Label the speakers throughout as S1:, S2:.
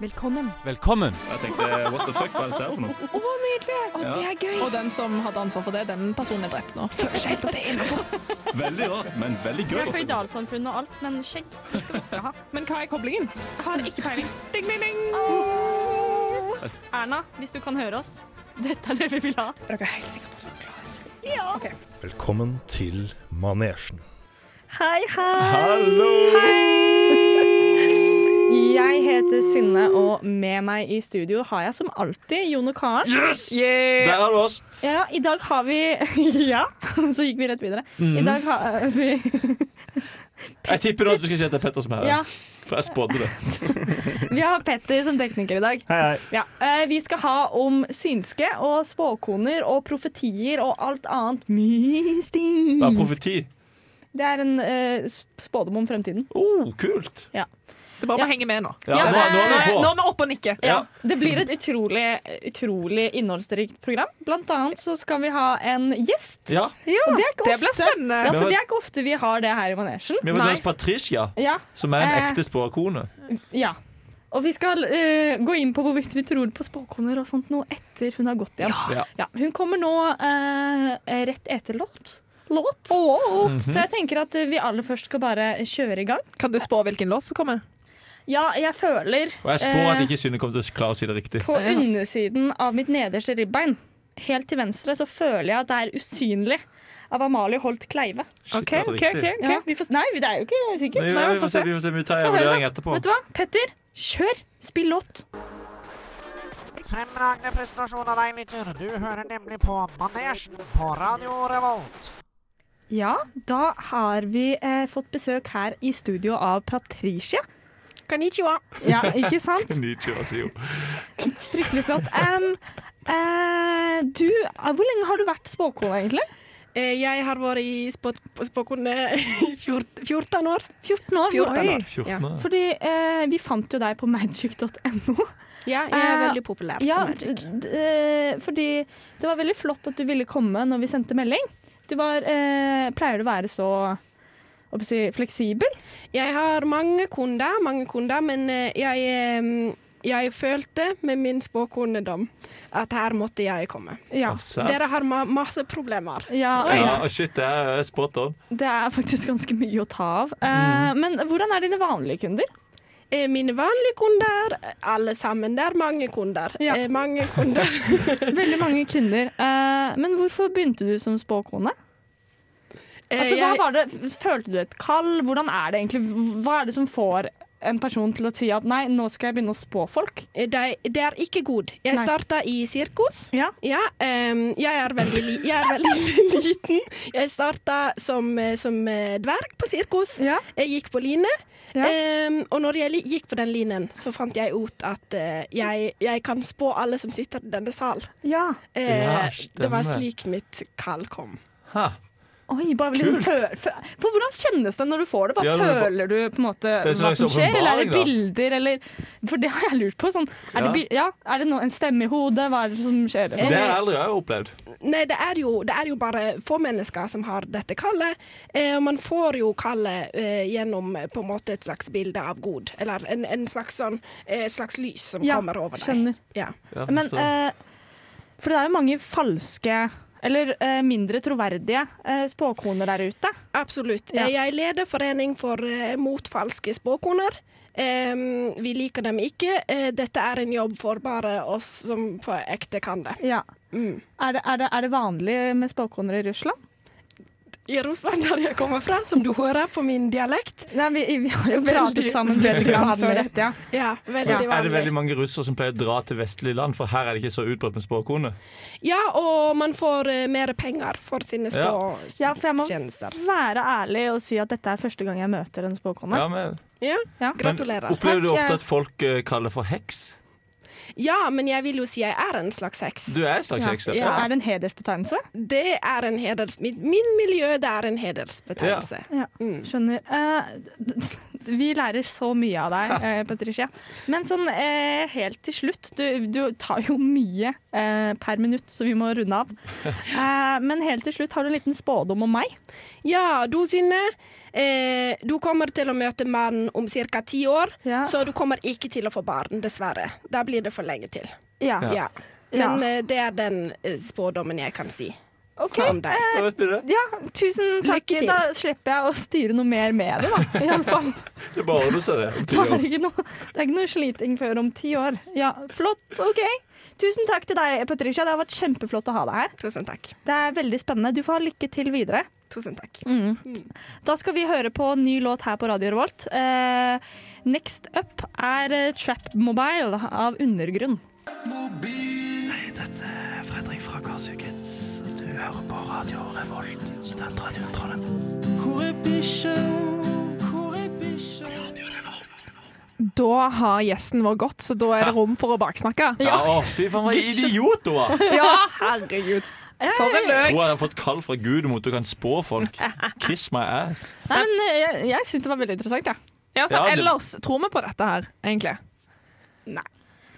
S1: Velkommen.
S2: Velkommen!
S3: Jeg tenkte
S2: Eh,
S3: what the fuck, hva er dette her for noe?
S1: Å, nydelig!
S3: Ja.
S1: Det er gøy.
S4: Og den som hadde ansvar for det, den personen er drept nå.
S1: Føler seg helt at det er innenfor.
S3: Veldig rart, men veldig gøy.
S5: Jeg er føydalsamfunn og alt, men skjegg det skal vi ikke ha.
S4: Men hva er koblingen?
S5: Har ikke peiling. Ding, ding, ding. Erna, hvis du kan høre oss, dette er det vi vil ha.
S1: Er dere helt sikre på at dere klarer det?
S6: Velkommen til manesjen.
S1: Hei, hei.
S3: Hallo!
S1: Jeg heter Synne, og med meg i studio har jeg som alltid Jon og Karen.
S3: Yes! Der har du oss.
S1: Ja, i dag har vi Ja, så gikk vi rett videre. I dag har vi
S2: Jeg tipper at du skal si at det er Petter som er her.
S1: Ja,
S2: For jeg spådde det.
S1: vi har Petter som tekniker i dag.
S6: Hei, hei.
S1: Ja, eh, Vi skal ha om synske og spåkoner og profetier og alt annet mystisk.
S2: Det er profeti.
S1: Det er en eh, sp- spådom om fremtiden.
S2: Oh, kult!
S4: Det er bare
S1: Ja.
S4: å henge med nå.
S2: Ja,
S1: Ja, eh,
S2: nå, er- nå er vi
S4: Nå
S2: på.
S4: er vi oppe og nikker.
S1: Ja, Det blir et utrolig, utrolig innholdsrikt program. Blant annet så skal vi ha en gjest.
S2: Ja,
S1: Og det er ikke
S4: Det
S1: ofte.
S4: blir spennende.
S1: Ja, for det er ikke ofte vi har det her i manesjen.
S2: Vi har fått med oss Patricia,
S1: Ja,
S2: som er en
S1: Eh.
S2: ekte spåkone.
S1: ja. Og vi skal eh, gå inn på hvorvidt vi tror på spåkoner og sånt noe etter hun har gått igjen.
S2: Ja.
S1: Ja, hun kommer nå eh, rett etter låt. Låt.
S2: Mhm.
S1: Så jeg tenker at vi aller først skal bare kjøre i gang.
S4: Kan du spå hvilken låt som kommer?
S1: Ja, jeg føler
S2: Og jeg spår at
S1: eh,
S2: ikke Synne kommer til å klare å si det riktig.
S1: På undersiden av mitt nederste ribbein, helt til venstre, så føler jeg at det er usynlig av Amalie Holt Kleive.
S2: Shit,
S4: OK,
S2: det er
S4: OK.
S2: riktig.
S4: ok, ok.
S1: Ja. Vi får, nei, det er jo ikke sikkert.
S2: Nei,
S1: Nei,
S2: vi får se, vi får se, vi tar en
S1: Få høre,
S2: vurdering etterpå.
S1: Vet du hva? Petter, kjør! Spill låt.
S7: Fremragende presentasjon av deg, lytter. Du hører nemlig på Manesjen på Radio Revolt.
S1: Ja, da har vi eh, fått besøk her i studio av Patricia.
S5: Konnichiwa.
S1: Ja, ikke sant?
S2: altså,
S1: Fryktelig flott. Em, eh, du, eh, hvor lenge har du vært spåkone, egentlig?
S8: Eh, Jeg har vært i spåkone i 14 år.
S1: 14 år.
S8: 14
S1: Oi.
S8: år.
S2: 14 år.
S1: Fordi eh, vi fant jo deg på magic.no.
S8: Ja, jeg er
S1: Eh,
S8: veldig populær på
S1: Ja,
S8: Magic.
S1: d- d- eh, fordi det var veldig flott at du ville komme når vi sendte melding. Du var, eh, pleier du å være så hva skal jeg si, fleksibel?
S8: Jeg har mange kunder, mange kunder, men eh, jeg, eh, jeg følte med min spåkonedom at her måtte jeg komme.
S1: Ja.
S2: Serr?
S8: Dere har ma masse problemer.
S1: ja.
S2: Ja, og shit, det er jeg spot on.
S1: Det er faktisk ganske mye å ta av. Eh,
S2: Mm.
S1: Men hvordan er dine vanlige kunder?
S8: Eh, Mine vanlige kunder, alle sammen, det er mange kunder.
S1: Ja.
S8: Eh, Mange kunder.
S1: Veldig mange kunder. Eh, Men hvorfor begynte du som spåkone? Altså,
S8: Eh,
S1: hva
S8: jeg-
S1: var det, følte du et kall? Hvordan er det egentlig? Hva er det som får en person til å si at nei, nå skal jeg begynne å spå folk?
S8: Det, Eh, det er ikke god. Jeg
S1: Nei.
S8: starta i sirkus.
S1: Ja.
S8: ehm, jeg, er veldig li jeg er veldig liten. Jeg starta som, eh, som eh, dverg på sirkus.
S1: Ja.
S8: Jeg gikk på line,
S1: Ja.
S8: ehm, og når jeg li- gikk på den linen, så fant jeg ut at eh, jeg, jeg kan spå alle som sitter i denne sal.
S1: ja.
S8: Eh,
S2: Ja,
S8: det var
S2: stemmer.
S8: slik mitt kall kom.
S2: Ha.
S1: Eh. Oi, bare liksom
S2: Kult.
S1: føl, føl, for hvordan kjennes det når du får det? Hva
S2: Ja, når du ba-
S1: føler du på en måte
S2: Det er en
S1: hva
S2: slags
S1: som skjer? Eller er det
S2: åpenbaring,
S1: bilder, eller For det har jeg lurt på. Sånn, er, det,
S2: Ja.
S1: bil- ja, er det no, en stemme i hodet? Hva er det som skjer?
S2: Det har jeg aldri jeg opplevd.
S8: Nei, det er, jo, det er jo bare få mennesker som har dette kallet. Eh, og man får jo kallet eh, gjennom eh, på en måte et slags bilde av Gud, eller en, en slags sånn, eh, et slags lys som
S1: Ja,
S8: kommer over deg.
S1: skjønner.
S8: Ja.
S2: Ja,
S1: Men
S2: forstår.
S1: eh, For det er jo mange falske eller eh, mindre troverdige eh, spåkoner der ute.
S8: Absolutt.
S1: Ja.
S8: Eh, Jeg leder Forening for eh, mot falske spåkoner. Eh, vi liker dem ikke. Eh, dette er en jobb for bare oss som på ekte kan det. Mm.
S1: Er, det, er, det, er det vanlig med spåkoner i Russland?
S8: I Russland, der jeg kommer fra, som du hører på min dialekt
S1: Nei, vi, vi har jo
S8: Veldig-
S1: pratet sammen bedre grann før
S8: vanlig.
S1: dette, ja.
S8: Ja,
S1: Ja.
S8: veldig
S1: Er
S8: vanlig.
S2: Er det veldig mange russere som pleier å dra til vestlige land, for her er det ikke så utbredt med spåkone?
S8: Ja, og man får eh, mer penger for sine
S2: Ja.
S1: Ja, for jeg må-
S8: spåtjenester.
S1: Være ærlig og si at dette er første gang jeg møter en spåkone.
S2: Ja, men,
S8: Ja.
S1: Ja.
S8: Gratulerer.
S2: Men opplever du
S1: Takk, jeg-
S2: ofte at folk eh, kaller for heks?
S8: Ja, men jeg vil jo si jeg er en slags heks.
S2: Du er en slags heks?
S1: Ja. Er det en hedersbetegnelse?
S8: Det er en heders... Min, min miljø, det er en hedersbetegnelse.
S1: Ja, skjønner. Eh, d- d- vi lærer så mye av deg, eh, Patricia. Men sånn eh, helt til slutt Du, du tar jo mye eh, per minutt, så vi må runde av. Eh, men helt til slutt har du en liten spådom om meg.
S8: Ja, du Synne. Eh, du kommer til å møte mannen om ca. ti år,
S1: Ja.
S8: så du kommer ikke til å få barn, dessverre. Da blir det for lenge til.
S1: Ja.
S8: Ja. Men eh, det er den eh, spådommen jeg kan si
S1: OK.
S8: om deg.
S1: Eh,
S2: Da vet vi det.
S1: ja, tusen takk.
S8: Lykke til.
S1: Da slipper jeg å styre noe mer med det, da. I alle fall.
S2: Det er bare å ordne seg, det. om ti
S1: Da er
S2: år.
S1: det, ikke noe, det er ikke noe sliting før om ti år. Ja, Flott. OK. Tusen takk til deg, Patricia. Det har vært kjempeflott å ha deg her.
S8: Tusen takk.
S1: Det er veldig spennende. Du får ha lykke til videre.
S8: Tusen takk.
S1: Da skal vi høre på ny låt her på Radio Revolt. Eh, next up er eh, Trap Mobile av Undergrunn.
S4: Da har gjesten vår gått, så da er det rom for å baksnakke.
S2: Ja, å, fy faen, hva en idiot hun var!
S4: Ja, herregud. For en
S2: Tror
S4: løk.
S2: jeg har fått kall fra Gud om at du kan spå folk. Kiss my ass.
S1: Nei, men eh, jeg, jeg syns det var veldig interessant, jeg.
S4: Ja, så
S2: Ja, det-
S4: ellers tror vi på dette her, egentlig.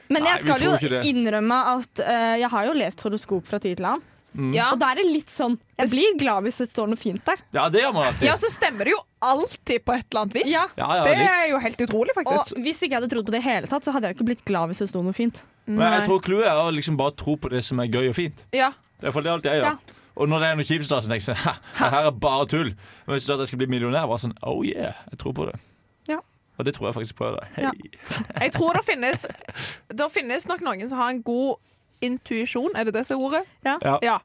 S1: Men
S2: Nei,
S1: jeg
S2: vi
S1: skal
S2: tror
S1: jo
S2: ikke det.
S1: innrømme at eh, jeg har jo lest horoskop fra tid til annen.
S2: Mm.
S4: Ja.
S1: Og da er det litt sånn Jeg
S4: Det s-
S1: blir glad hvis det står noe fint der.
S2: Ja, det gjør man alltid.
S4: ja, så stemmer det jo alltid på et eller annet vis.
S1: Ja.
S2: Ja, ja,
S4: Det
S2: litt.
S4: er jo helt utrolig,
S1: Og
S4: faktisk.
S1: hvis ikke jeg hadde trodd på det i hele tatt, så hadde jeg jo ikke blitt glad hvis det sto noe fint.
S2: Men jeg tror clouet er å liksom bare tro på det som er gøy og fint.
S4: Ja.
S2: Det er for det er alt jeg gjør. Og når det er noe kjipt, så tenker jeg sånn, «Ha, her er bare tull. Men hvis du sa at jeg skal bli millionær, var jeg sånn oh yeah, jeg tror på det.
S1: Ja.
S2: Og det tror jeg faktisk på. Det. Hei.
S1: Ja.
S4: Jeg tror det finnes Det finnes nok noen som har en god intuisjon, er det det som er ordet?
S2: Ja.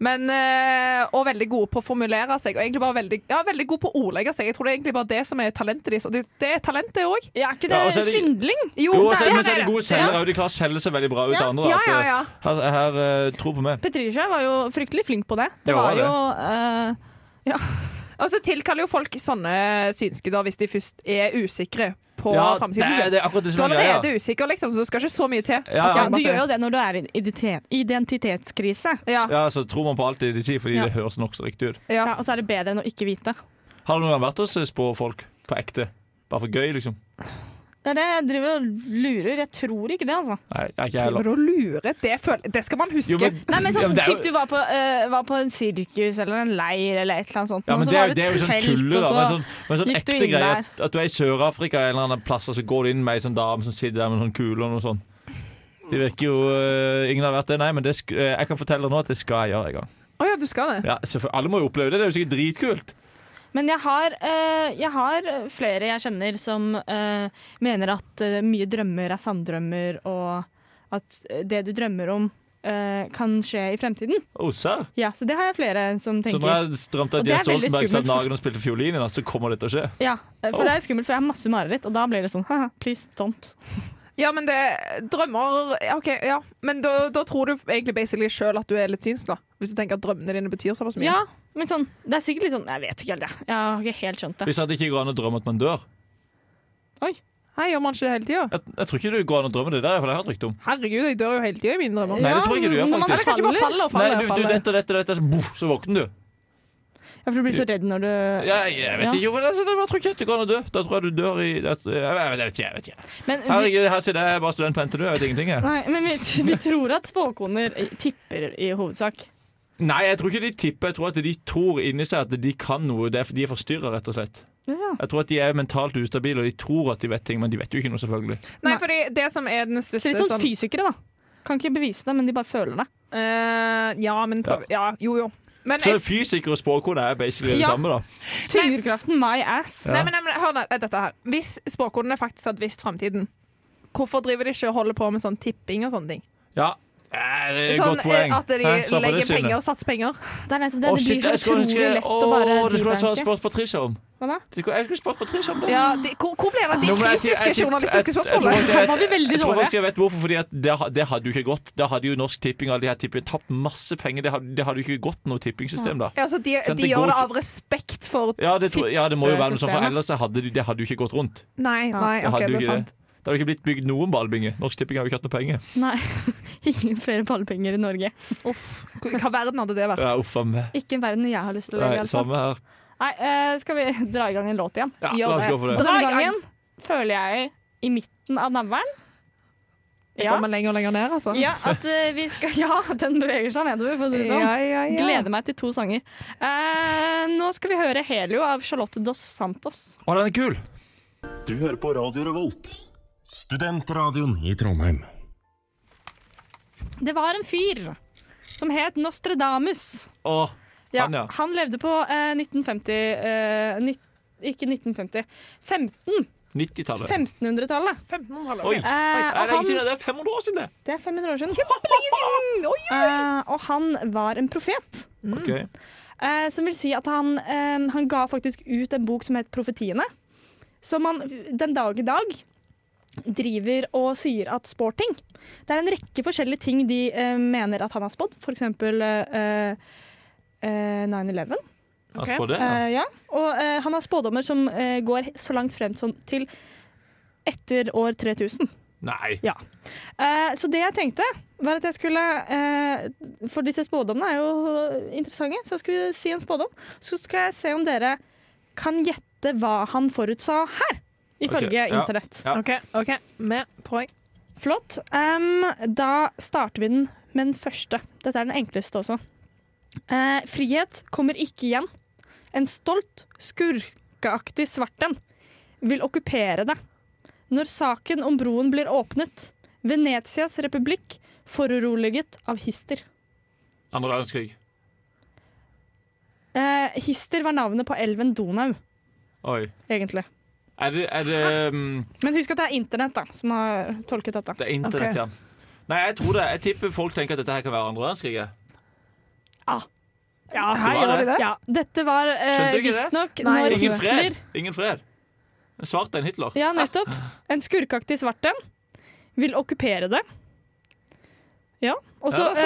S4: Men, eh, og veldig gode på å formulere seg, og egentlig bare veldig, ja, veldig gode på å ordlegge seg. Jeg tror det er egentlig bare det som er talentet deres, og det, det er talentet òg.
S1: Ja, er ikke det
S2: Ja, altså, og så er det-
S1: svindling?
S4: Jo,
S2: Jo, og
S4: det
S2: så er det- men så
S4: er
S2: er de
S4: det.
S2: gode selgere, og de klarer å selge seg veldig bra ut til andre.
S4: Ja,
S2: at,
S4: ja,
S2: eh,
S4: ja.
S2: Her, her eh, tro på meg.
S1: Petrisha var jo fryktelig flink på det. Det
S2: Ja,
S1: var
S2: det.
S1: jo eh,
S4: Og så tilkaller jo folk sånne synskuder hvis de først er usikre på
S2: Ja, det,
S4: framsiden
S2: er-
S4: sin.
S2: det er akkurat det
S4: Du
S2: som
S4: er
S2: er greia.
S4: allerede usikker, liksom, så det skal ikke så mye til.
S2: Ja,
S1: Ja,
S2: ja.
S1: du gjør jo det når du er i en identitet, identitetskrise.
S4: Ja,
S2: Ja, så tror man på alt det de sier, fordi
S1: Ja.
S2: det høres nokså riktig ut.
S1: Ja, og så er det bedre enn å ikke vite.
S2: Har du noen gang vært hos eh, spåfolk på ekte? Bare for gøy, liksom?
S1: Det er det jeg driver og lurer. Jeg tror ikke det, altså.
S2: Nei, jeg er ikke
S4: Driver
S2: heller.
S4: du og lurer? Det, føl- det skal man huske.
S2: Jo, men,
S1: Nei, men
S2: Ja,
S1: sånn
S2: men det er jo-
S1: typ du var på, eh, var på en sirkus eller en leir eller et eller annet sånt.
S2: ja,
S1: og
S2: men
S1: så
S2: det, er
S1: var
S2: jo- det er jo sånn
S1: telt,
S2: tulle,
S1: og
S2: da.
S1: så-
S2: Men sånn, men sånn
S1: gikk du
S2: ekte
S1: inn
S2: greie
S1: der.
S2: at, at du er i Sør-Afrika eller en eller annen plass, og så går du inn med ei sånn dame som sitter der med en sånn kule og noe sånt. Det virker jo eh, Ingen har vært det, nei, men det sk eh, jeg kan fortelle nå at det skal jeg gjøre en gang.
S4: Å ja, du skal det.
S2: Ja, selvfølgelig. Alle må jo oppleve det. Det er jo sikkert dritkult.
S1: Men jeg har, eh, jeg har flere jeg kjenner som eh, mener at eh, mye drømmer er sanndrømmer, og at eh, det du drømmer om, eh, kan skje i fremtiden.
S2: Å, serr?
S1: Ja, så det har jeg flere som
S2: Så
S1: tenker.
S2: når jeg drømte
S1: Og det
S2: at jeg
S1: er veldig
S2: Stoltenberg satt
S1: skummelt, for-
S2: naken og spilte fiolin i natt, så kommer det til å skje.
S1: Ja, eh, for
S2: Oh.
S1: det er skummelt, for jeg har masse mareritt, og da blir det sånn haha, please don't.
S4: Ja, men det Drømmer ja, OK, ja. Men da, da tror du egentlig basically sjøl at du er litt syns, da. Hvis du tenker at drømmene dine betyr såpass mye.
S1: Ja, men sånn, det er sikkert litt sånn Jeg vet ikke helt, jeg. Jeg har ikke helt skjønt det.
S2: Hvis at det ikke går an å drømme at man dør.
S4: Hei, gjør man ikke det hele tida?
S2: Jeg, jeg tror ikke det går an å drømme det der, for det har jeg hørt rykte om.
S4: Herregud, jeg dør jo hele tida i mine drømmer.
S2: Nei, det tror jeg ikke du gjør,
S1: når man
S2: faktisk.
S4: Eller kanskje bare faller og
S2: Nei,
S4: faller.
S2: du,
S4: og
S2: du
S4: faller.
S2: dette og dette, og dette, så, boff, så våkner du.
S1: Ja, for du blir så redd når du
S2: Ja, jeg vet
S1: Ja.
S2: ikke hvorfor det er sånn, jeg bare tror ikke at det går an å dø. Da tror jeg du dør i det, jeg, vet- jeg vet ikke, jeg vet ikke.
S1: Men vi, Mm.
S2: Herregud, her sitter jeg bare student på NTNU, jeg vet ingenting. Jeg.
S1: nei, men vi, vi tror at spåkoner tipper i hovedsak.
S2: Nei, jeg tror ikke de tipper. Jeg tror at de tror inni seg at de kan noe. Det er, de er forstyrra, rett og slett.
S1: Ja.
S2: Jeg tror at de er mentalt ustabile, og de tror at de vet ting, men de vet jo ikke noe, selvfølgelig.
S4: Nei, fordi det som er den
S1: Så
S4: største
S1: litt sånn fysikere, da. Kan ikke bevise det, men de bare føler det.
S4: Eh, Ja, men prøv Ja, jo, jo. Men
S2: Så
S4: jeg
S2: fysikere og spåkode er basically det
S1: Ja.
S2: samme, da.
S1: Tyngdekraften, my ass.
S4: Nei, men, nei, men hør nå, dette her. Hvis spåkodene faktisk hadde visst framtiden, hvorfor driver de ikke og holder på med sånn tipping og sånne ting?
S2: Ja. Eh, det er et
S4: Sånn
S2: godt
S4: eh,
S2: poeng.
S4: At de
S2: Hæ? Slapp av det,
S4: legger
S2: Synne.
S4: penger og satser penger.
S1: Det er nettopp det.
S2: Å,
S1: Det
S2: shit,
S1: blir
S2: jeg
S1: så
S2: skulle
S1: utrolig
S2: ønske
S1: lett å bare
S2: Å, det skulle jeg ha
S1: debanke.
S2: spurt Patricia om.
S1: Hva da?
S2: Det skulle- Jeg skulle spurt Patricia om det.
S4: Ja, de, hvor, hvor ble det av de
S2: Nå må jeg- jeg-
S4: kritiske
S2: jeg- jeg-
S4: journalistiske
S2: jeg- jeg- jeg-
S4: spørsmålene?
S1: Her var vi veldig
S2: Jeg tror
S1: dårlige.
S2: faktisk jeg vet hvorfor, fordi at det, ha- det hadde jo ikke gått. Da hadde jo Norsk Tipping og alle de her tippingene tapt masse penger. Det hadde, det hadde jo ikke gått noe tippingsystem da.
S4: Ja, altså, de
S2: Sånn,
S4: de
S2: det går
S4: gjør det
S2: ikke-
S4: av respekt for
S2: Ja, det, tror, ja, det må jo være noe sånt, for
S1: Tippesystemet.
S2: ellers så hadde de, det hadde jo ikke gått rundt.
S4: Nei,
S1: Ja.
S4: nei,
S2: Det
S4: ok,
S2: hadde jo
S4: det er
S2: ikke
S4: sant.
S2: det. Det hadde jo ikke blitt bygd noen ballbinge. Norsk Tipping har jo ikke hatt noe penger.
S1: Nei. Ingen flere ballpenger i Norge.
S4: Uff, hva i verden hadde det vært?
S2: Ja, uff a meg.
S1: Ikke en verden jeg har lyst til å leve i.
S2: Nei,
S1: Altså.
S2: samme her.
S1: Nei, eh, skal vi dra i gang en låt igjen?
S2: Ja, la oss gå for det.
S1: Denne gangen føler jeg i midten av navlen.
S4: Jeg
S1: Ja.
S4: kommer lenger og lenger ned, altså.
S1: ja, at eh, vi skal Ja, den beveger seg nedover, for å si det sånn.
S4: Ja, ja, ja.
S1: Gleder meg til to sanger. Eh, nå skal vi høre 'Helio' av Charlotte Dos Santos.
S2: Å, den er kul!
S9: Du hører på Radio Revolt, studentradioen i Trondheim.
S1: Det var en fyr som het Nostradamus.
S2: Å,
S1: Ja,
S2: Han, ja.
S1: han levde på eh, 1950 eh, nitt- Ikke 1950 15,
S2: 90-tallet.
S1: 1500-tallet.
S2: Oi!
S1: Eh, og
S2: Nei, det
S1: han,
S2: er ikke siden, det er 500 år siden! det.
S1: det er 500 år siden. Kjempelenge siden! og han var en profet.
S2: Ok.
S1: Eh, som vil si at han, eh, han ga faktisk ut en bok som het Profetiene. Som han den dag i dag driver og sier at spår ting. Det er en rekke forskjellige ting de eh, mener at han har spådd. For eksempel eh, eh, 9-11.
S2: Han
S4: Ok.
S2: spådde? Ja.
S1: Eh, ja. Og eh, han har spådommer som eh, går så langt frem som til etter år 3000.
S2: Nei.
S1: Eh, så det jeg tenkte var at jeg skulle eh, For disse spådommene er jo interessante, så jeg skulle si en spådom. Så skal jeg se om dere kan gjette hva han forutså her, ifølge
S2: ja,
S1: internett.
S2: ja.
S4: OK, ok, vi, tror jeg.
S1: Flott. Em, da starter vi den med den første. Dette er den enkleste også. Eh, frihet kommer ikke igjen. En stolt, skurkeaktig svart en vil okkupere det. Når saken om broen blir åpnet, Venetias republikk foruroliget av hister.
S2: Andre verdenskrig.
S1: Eh, hister var navnet på elven Donau,
S2: Oi.
S1: egentlig.
S2: Er det, er det, um,
S1: Men husk at det er internett da, som har tolket dette.
S2: det er internett,
S4: Ok.
S2: ja. Nei, jeg tror det. Jeg tipper folk tenker at dette her kan være andre verdenskrig. jeg.
S4: Ja,
S2: her gjør vi
S1: Ja, dette var eh,
S2: Skjønte du ikke det?
S1: visstnok
S4: Nei,
S1: når
S2: Ingen
S1: Hitler
S2: fred! Ingen fred. En Svart en Hitler.
S1: Ja, nettopp. En skurkaktig svart en vil okkupere det. Ja. Og så
S2: Ja, så-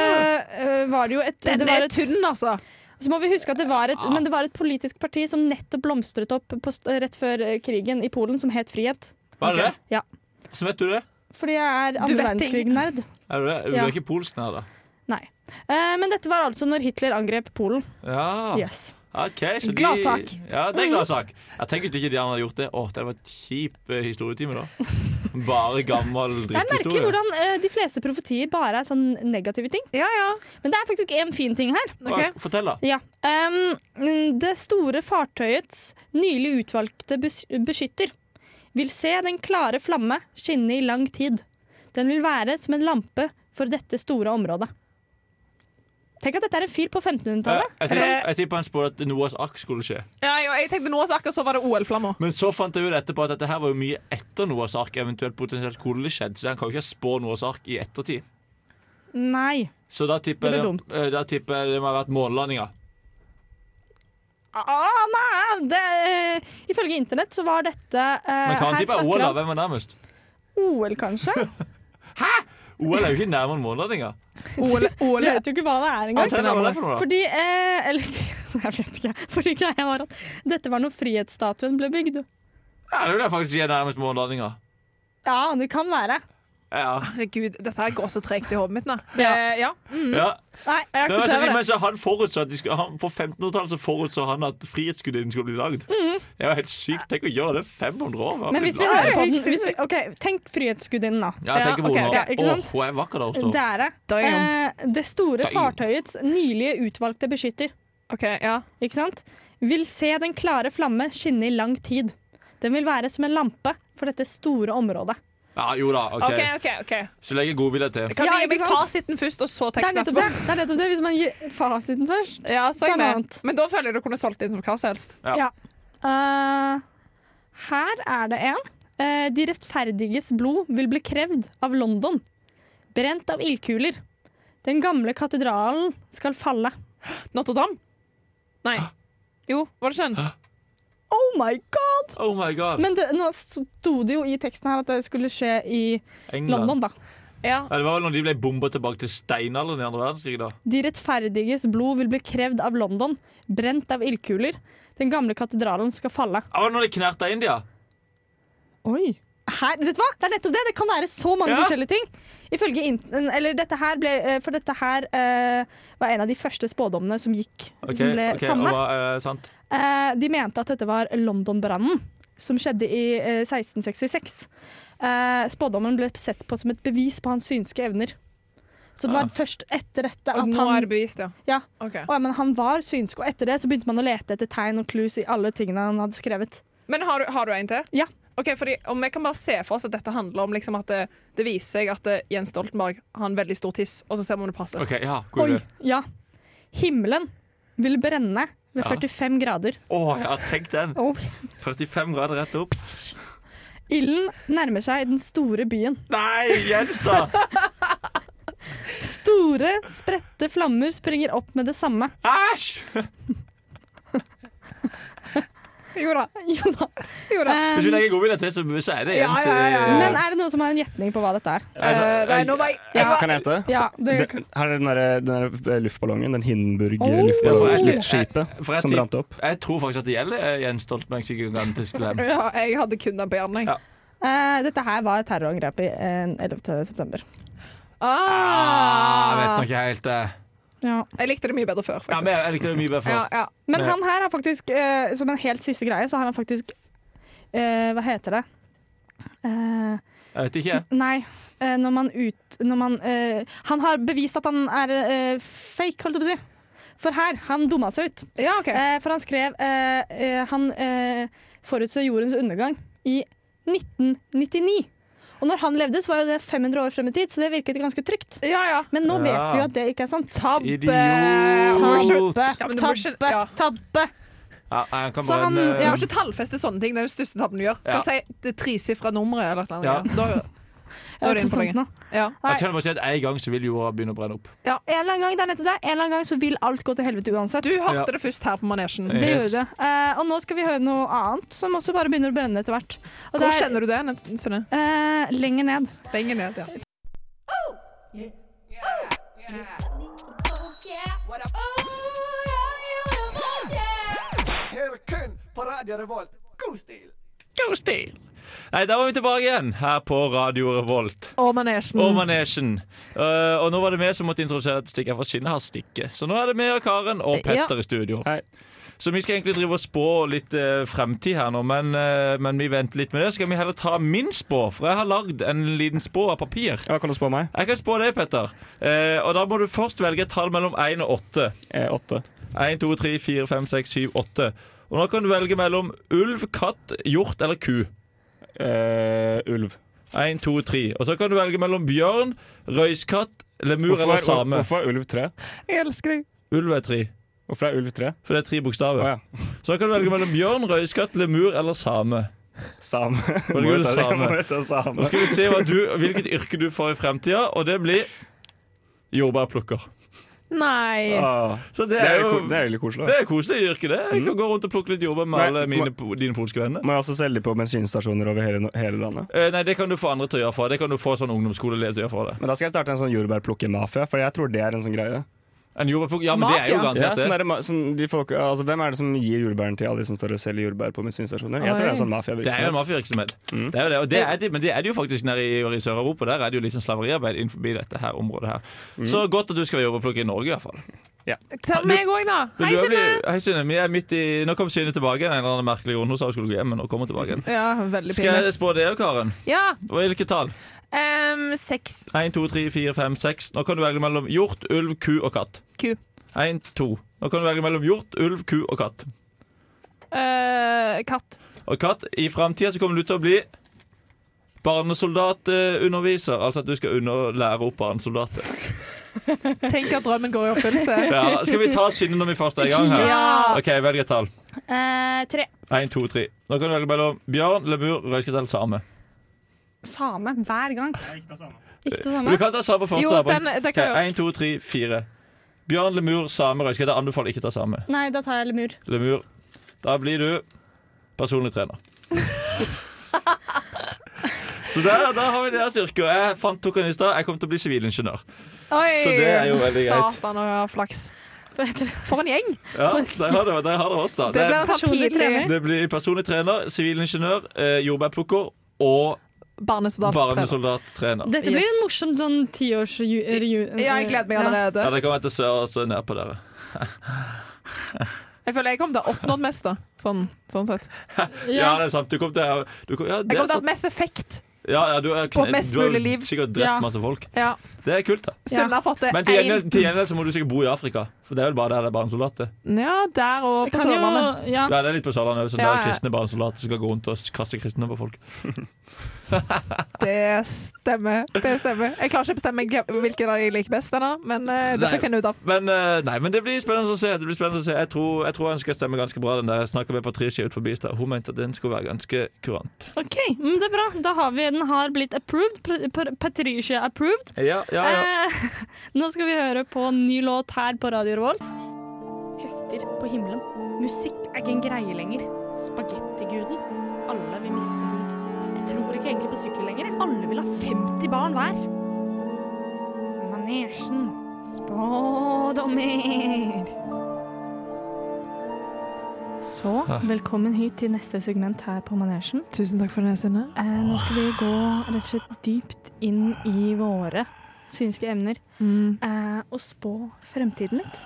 S1: eh, eh, var det jo et, det
S4: Den
S1: var
S4: er
S1: et
S4: tynn, altså.
S1: Så må vi huske at det var et, men det var et politisk parti som nettopp blomstret opp på, st- rett før eh, krigen i Polen, som het Frihet.
S2: Var det
S1: Ok. Ja.
S2: det? Så vet du det.
S1: Fordi jeg er
S4: Du
S1: andre
S4: vet ting.
S1: verdenskrig-nerd.
S2: Er du det? Du
S1: Ja.
S2: er ikke polsk nær det.
S1: Eh, men dette var altså når Hitler angrep Polen.
S2: Ja.
S1: Yes.
S2: OK, så de
S4: Gladsak.
S2: Ja, det er gladsak. Jeg tenker ikke de andre hadde gjort det. Åh, det var et kjip eh, historietime, da. Bare gammel
S1: Det er merkelig
S2: dritthistorie.
S1: hvordan eh, de fleste profetier bare er sånn negative ting.
S4: Ja, ja.
S1: Men det er faktisk en fin ting her.
S2: Hva- Fortell, da.
S1: Ja. ehm, det store fartøyets nylig utvalgte bes beskytter vil se den klare flamme skinne i lang tid. Den vil være som en lampe for dette store området. Tenk at dette er en fyr på 1500-tallet.
S2: Eh, Jeg, jeg, tipper- jeg tipper han spådde at Noahs ark skulle skje.
S4: ja jo, jeg tenkte noe, så akkurat så var det OL-flamma.
S2: Men så fant jeg ut etterpå at dette her var jo mye etter Noahs ark eventuelt potensielt kunne skjedd, så han kan jo ikke spå Noahs ark i ettertid.
S1: Nei.
S2: Så da tipper
S1: Det blir
S2: jeg det,
S1: dumt. Eh,
S2: eh, da tipper jeg det må ha vært månelandinga.
S1: Ah, nei. Det, eh, ifølge internett så var dette eh,
S2: Men kan
S1: her
S2: han tippe
S1: snakker
S2: OL, da?
S1: han-
S2: Hvem er nærmest?
S1: OL, kanskje?
S2: OL er jo ikke nærmere enn månelandinga.
S4: OL,
S1: Jeg vet jo ikke hva det er engang.
S2: Fortell meg hva det er for noe, da.
S1: Fordi eh, Eller jeg vet ikke. Fordi greia var at dette var når frihetsstatuen ble bygd.
S2: Ja, det vil jeg faktisk si er nærmest månelandinga.
S1: Ja, det kan være.
S2: Ja.
S4: Herregud, dette her går så tregt i hodet mitt nå. Det,
S1: Ja.
S4: ja.
S1: Mm.
S2: ja.
S1: Nei, jeg
S2: Det var så
S1: aksepterer
S2: fint,
S1: det.
S2: men så han forutså at de skulle, han, På 1500-tallet så forutså han at Frihetsgudinnen skulle bli lagd. Det var helt sykt. Tenk å gjøre det 500 år. hva
S1: Mhm. Men
S2: blir
S1: hvis vi
S2: lagd?
S1: hører på den hvis vi, OK, tenk Frihetsgudinnen, da.
S2: Ja, jeg tenker på
S1: ok,
S2: henne nå.
S1: ja, ikke sant?
S2: Åh, hun er vakker da hun står.
S1: Dere.
S4: Damn.
S1: Eh, det store
S2: Damn.
S1: fartøyets nylige utvalgte beskytter,
S4: OK, ja.
S1: ikke sant, vil se den klare flamme skinne i lang tid. Den vil være som en lampe for dette store området.
S2: Ja, jo da. ok.
S4: OK, OK. ok.
S2: Så legger jeg godvilje til.
S4: Kan
S1: Ja,
S4: du gi meg
S1: ikke sant?
S4: fasiten først, og så
S1: Det er
S4: teksten
S1: nettopp det. det, er nettopp det hvis man gir fasiten først.
S4: Ja, så er jeg
S1: Samme
S4: med.
S1: annet.
S4: Men da føler jeg du kunne solgt inn som hva som helst.
S2: Ja.
S1: Ja. Eh, her er det en. Eh, de rettferdiges blod vil bli krevd av London. Brent av ildkuler. Den gamle katedralen skal falle.
S4: Notre-Dame? Nei.
S2: Ah.
S4: Jo, var det ikke den?
S1: Oh my god!
S2: Oh my god.
S1: Men det, nå sto det jo i teksten her at det skulle skje i
S2: England.
S1: London, da.
S4: Ja.
S2: Ja, det var vel når de ble bomba tilbake til steinalderen i andre verdenskrig. da.
S1: De rettferdiges blod vil bli krevd av London. Brent av ildkuler. Den gamle katedralen skal falle.
S2: Ja, var det når de knerta India?
S1: Oi. her, vet du hva? Det er nettopp det. Det kan være så mange
S2: Ja.
S1: forskjellige ting. Ifølge in- eller dette her ble, eh, For dette her eh, var en av de første spådommene som gikk
S2: Ok,
S1: som ble
S2: ok,
S1: sanne.
S2: og hva, eh, sant.
S1: Eh, de mente at dette var London-brannen, som skjedde i eh, 1666. Eh, spådommen ble sett på som et bevis på hans synske evner. Så det var
S2: Ah.
S1: først etter dette at
S4: Og nå er
S1: han
S4: det bevist, ja.
S1: Ja.
S4: Ok.
S1: Å, ja, men han var synsk, og etter det så begynte man å lete etter tegn og clues i alle tingene han hadde skrevet.
S4: Men har du, har du en til?
S1: Ja.
S4: Ok, fordi Om vi kan bare se for oss at dette handler om liksom at det, det viser seg at eh, Jens Stoltenberg har en veldig stor tiss, og så ser vi om det passer.
S2: Ok, ja, god
S1: Oi,
S2: idé.
S1: ja. Himmelen vil brenne ved
S2: Ja.
S1: 45 grader.
S2: Å, ja, tenk den.
S1: Oh.
S2: 45 grader rett opp.
S1: Ilden nærmer seg den store byen.
S2: Nei, Jens, da!
S1: Store, spredte flammer springer opp med det samme.
S2: Æsj!
S4: Jo da.
S1: Jo da.
S4: Jo da.
S2: Hvis vi
S1: Um,
S2: legger godvilje til, så så er det
S4: Ja,
S2: Jens.
S4: ja, ja, ja.
S2: eh,
S1: men er det noen som har en gjetning på hva dette er?
S2: Eh,
S4: nei, nå var jeg, jeg
S1: Ja.
S4: var,
S10: Kan jeg hete?
S1: Ja, det,
S10: Det- Her er den der, den der eh, luftballongen, den
S1: Oh.
S2: Ja, for
S10: Hindenburg-luftballongen,
S2: jeg- jeg- for
S10: luftskipet
S2: jeg-
S10: som brant opp.
S2: Jeg tror faktisk at det gjelder eh, Jens Stoltenberg sin gigantiske lem.
S4: ja, jeg hadde kun den på hjernen.
S2: Ja.
S4: Ja.
S1: Eh, dette her var terrorangrepet i eh, 11. september.
S2: Ah, vet
S4: Ah,
S2: nok ikke helt det.
S1: Ja.
S4: jeg likte det mye bedre før,
S2: Ja,
S4: faktisk.
S2: men jeg jeg likte det mye bedre før.
S4: Ja, ja.
S1: Men
S2: Nei.
S1: han her har faktisk, eh, som en helt siste greie, så har han faktisk eh, Hva heter det? Eh,
S2: Jeg vet ikke.
S1: nei, eh, når man ut... Når man, eh, han har bevist at han er eh, fake, holdt jeg på å si. For her, han dumma seg ut.
S4: ja ok.
S1: Eh, for han skrev eh, eh, Han eh, forutså jordens undergang i 1999. Og når han levde, så var jo det 500 år frem i tid, så det virket ganske trygt.
S4: Ja, ja.
S1: Men nå vet
S2: Ja.
S1: vi jo at det ikke er sant. Tabbe!
S2: Idiot!
S1: Tabbe!
S4: Ja, men du må ikke-
S1: Tabbe!
S4: ja.
S1: Tabbe!
S2: Ja, han kan
S1: Så
S2: bare en,
S1: han-
S2: eh,
S4: Du
S1: ja.
S4: må ikke tallfeste sånne ting. Det er den største tabben du gjør. Du
S2: Ja.
S4: Kan si det tresifra nummeret eller noe.
S2: Ja.
S4: Da, da er du
S1: Jeg vet
S4: inne
S1: ikke
S4: på
S1: sant
S4: noe.
S1: nå.
S4: Ja.
S2: Jeg kjenner bare si at En gang så vil jorda begynne å brenne opp.
S1: Ja, en eller annen gang det er nettopp det. En eller annen gang så vil alt gå til helvete uansett.
S4: Du
S2: Ja.
S4: hørte det først her på manesjen.
S1: det
S2: Yes.
S1: gjør det. Eh, og nå skal vi høre noe annet som også bare begynner å brenne etter hvert. Og
S4: Hvor kjenner du det? Nils- Synne?
S1: Eh, lenger ned.
S4: Lenger ned. Ja.
S2: Nei, der var vi tilbake igjen, her på Radio Revolt.
S4: Og manesjen.
S2: Og manesjen. Eh, og nå var det vi som måtte introdusere dette stikket, for Synne har stikket. Så nå er det vi og Karen og Petter i studio.
S10: Hei.
S2: Så vi skal egentlig drive og spå litt eh, fremtid her nå, men, eh, men vi venter litt med det. Så skal vi heller ta min spå, for jeg har lagd en liten spå av papir.
S10: Ja, kan du spå meg?
S2: Jeg kan spå deg, Petter. Eh, og da må du først velge et tall mellom 1 og 8.
S10: Eh, åtte.
S2: 1, 2, 3, 4, 5, 6, 7, 8. Og nå kan du velge mellom ulv, katt, hjort eller ku.
S10: Eh, ulv.
S2: 1, 2, 3. Og så kan du velge mellom bjørn, røyskatt, lemur
S10: Hvorfor
S2: eller
S10: er,
S2: same.
S10: hvorfor er ulv tre?
S4: Jeg elsker deg.
S2: Ulv er tre.
S10: Hvorfor er ulv tre?
S2: For det er tre bokstaver.
S10: Å ja.
S2: Så da kan du velge mellom bjørn, røyskatt, lemur eller same.
S10: Same.
S2: det
S10: Må
S2: gul
S10: jo ta det-
S2: same?
S10: må jo ta same.
S2: Nå skal vi se hva du, hvilket yrke du får i fremtida, og det blir jordbærplukker.
S4: Nei.
S10: Ah,
S2: Så det
S10: det, er
S2: er
S10: jo
S2: jo
S10: ko- det er egentlig koselig.
S2: det
S10: da.
S2: er koselig yrke, det. Jeg kan gå rundt og plukke litt jordbær med
S10: Nei,
S2: alle
S10: må-
S2: mine, po- dine polske venner.
S10: Må jeg også selge på bensinstasjoner over hele, hele landet.
S2: Eh, nei, det kan du få andre til å gjøre for deg. Det kan du få sånn ungdomsskoleelev til å gjøre for deg.
S10: Men da skal jeg starte en sånn jordbærplukker-mafia, for jeg tror det er en sånn greie.
S2: En jordbærplukker Ja, men det er jo
S10: Ja,
S2: garantert
S10: sånn
S2: det.
S10: er det ma- sånn, de folk, altså, hvem er det som gir jordbæren til alle de som står og selger jordbær på bensinstasjoner? Jeg tror det er en sånn
S2: Det er jo en
S10: mafiavirksomhet.
S2: mafiavirksomhet.
S10: Mm.
S2: Det er jo det, og det er det, men det er det jo faktisk nede i, i Sør-Europa. Der er det jo litt sånn slaveriarbeid innenfor dette her området her.
S10: Mm.
S2: Så godt at du skal være jordbærplukker i Norge, i hvert fall.
S4: Ta meg òg, da.
S2: Vil
S4: Hei,
S2: du bli-
S4: Synne.
S2: Hei, Synne. Vi er midt i Nå kom Synne tilbake igjen. En eller annen merkelig grunn. Hun sa hun skulle gå hjem, men nå kommer hun tilbake igjen.
S4: Ja, veldig
S2: Skal
S4: pinlig.
S2: jeg spå det òg, Karen?
S4: Ja.
S2: Og Hvilke tall?
S4: Um, seks
S2: 1, 2, 3, 4, 5, 6. Nå kan du velge mellom hjort, ulv, ku og katt.
S4: ku.
S2: 1, 2. Nå kan du velge mellom hjort, ulv, ku og katt.
S4: Eh, katt.
S2: Og katt, i framtida så kommer du til å bli barnesoldatunderviser. Altså at du skal under lære opp barnesoldater.
S4: Tenk at drømmen går i oppfyllelse.
S2: Ja, skal vi ta Synne når vi først er i gang her?
S4: Ja.
S2: OK, velg et tall.
S1: Eh, tre.
S2: 1, 2, 3. Nå kan du velge mellom bjørn, lemur, røykete eller same.
S1: Same hver gang. Ikke det
S2: Du
S1: samme?
S2: kan ta same først.
S4: Jo,
S2: Sabo.
S4: den- den
S2: Ok,
S4: kan jo-
S2: En, to, tre, fire. Bjørn, lemur, same, røyskatt. Jeg anbefaler ikke å ta same.
S1: Nei, da tar jeg lemur.
S2: Lemur. Da blir du personlig trener. Så der, der har vi deres yrke. Og jeg fant, tok den i stad. Jeg kom til å bli sivilingeniør.
S4: Oi,
S2: Så det er jo veldig greit.
S4: Satan og ja, flaks. For en gjeng.
S2: Ja, der har dere der har dere oss, da.
S4: Det
S2: Det,
S4: blir en sånn
S1: Personlig
S4: pinlig
S1: trener.
S2: det blir personlig trener, sivilingeniør, eh, jordbærplukker og
S4: barnesoldattrener.
S2: Barnesoldattrener.
S1: Dette blir en morsom sånn tiårsreunion.
S4: Ja, jeg gleder meg
S2: Ja,
S4: allerede.
S2: det kommer jeg til å se også ned på dere.
S4: Jeg føler jeg kommer til å ha oppnådd mest, da. Sånn, sånn sett.
S2: Ja, det er sant. Du kom til å du kom, ja, det
S4: Jeg
S2: er
S4: kommer til å ha
S2: sant.
S4: mest effekt.
S2: Ja, ja, du, er
S4: På
S2: kne-
S4: mest
S2: du har
S4: mulig liv.
S2: sikkert
S4: Ja.
S2: drept masse folk.
S4: Ja.
S2: Det er kult, da.
S4: Sunne har fått det
S2: Men til gjengjeld,
S4: en-
S2: til gjengjeld så må du sikkert bo i Afrika, for det er vel bare der det er barnesoldater.
S4: Ja, der og på
S1: kan jo-
S4: Sørlandet.
S1: ja.
S2: Ja, det er litt på Sørlandet også, så der
S4: Ja, ja.
S2: er kristne barnesoldater som skal gå rundt og s- kaste kristne på folk.
S4: Det stemmer. det stemmer Jeg klarer ikke å bestemme hvem- hvilken av de jeg liker best, ennå, men eh, det
S2: Nei,
S4: får jeg finne ut av.
S2: Men, eh, nei, men det blir spennende å se. Det blir spennende å se. Jeg tror, jeg tror han skal stemme ganske bra, den der. Jeg snakka med Patricia ut forbi i stad. Hun mente at den skulle være ganske kurant.
S1: OK, men det er bra. Da har vi Den har blitt approved. Pr- pr- Patricia approved.
S2: Ja, ja, ja.
S1: Eh, nå skal vi høre på en ny låt her på Radio Revolt. Hester på himmelen. Musikk er ikke en greie lenger. Spagettiguden. Alle vil miste hud. Jeg tror ikke egentlig på sykkel lenger. jeg. Alle vil ha 50 barn hver. Manesjen. Spådommer. Så velkommen hit til neste segment her på Manesjen.
S4: Tusen takk for det, Synne.
S1: Eh, nå skal vi gå rett og slett dypt inn i våre synske emner eh, og spå fremtiden litt.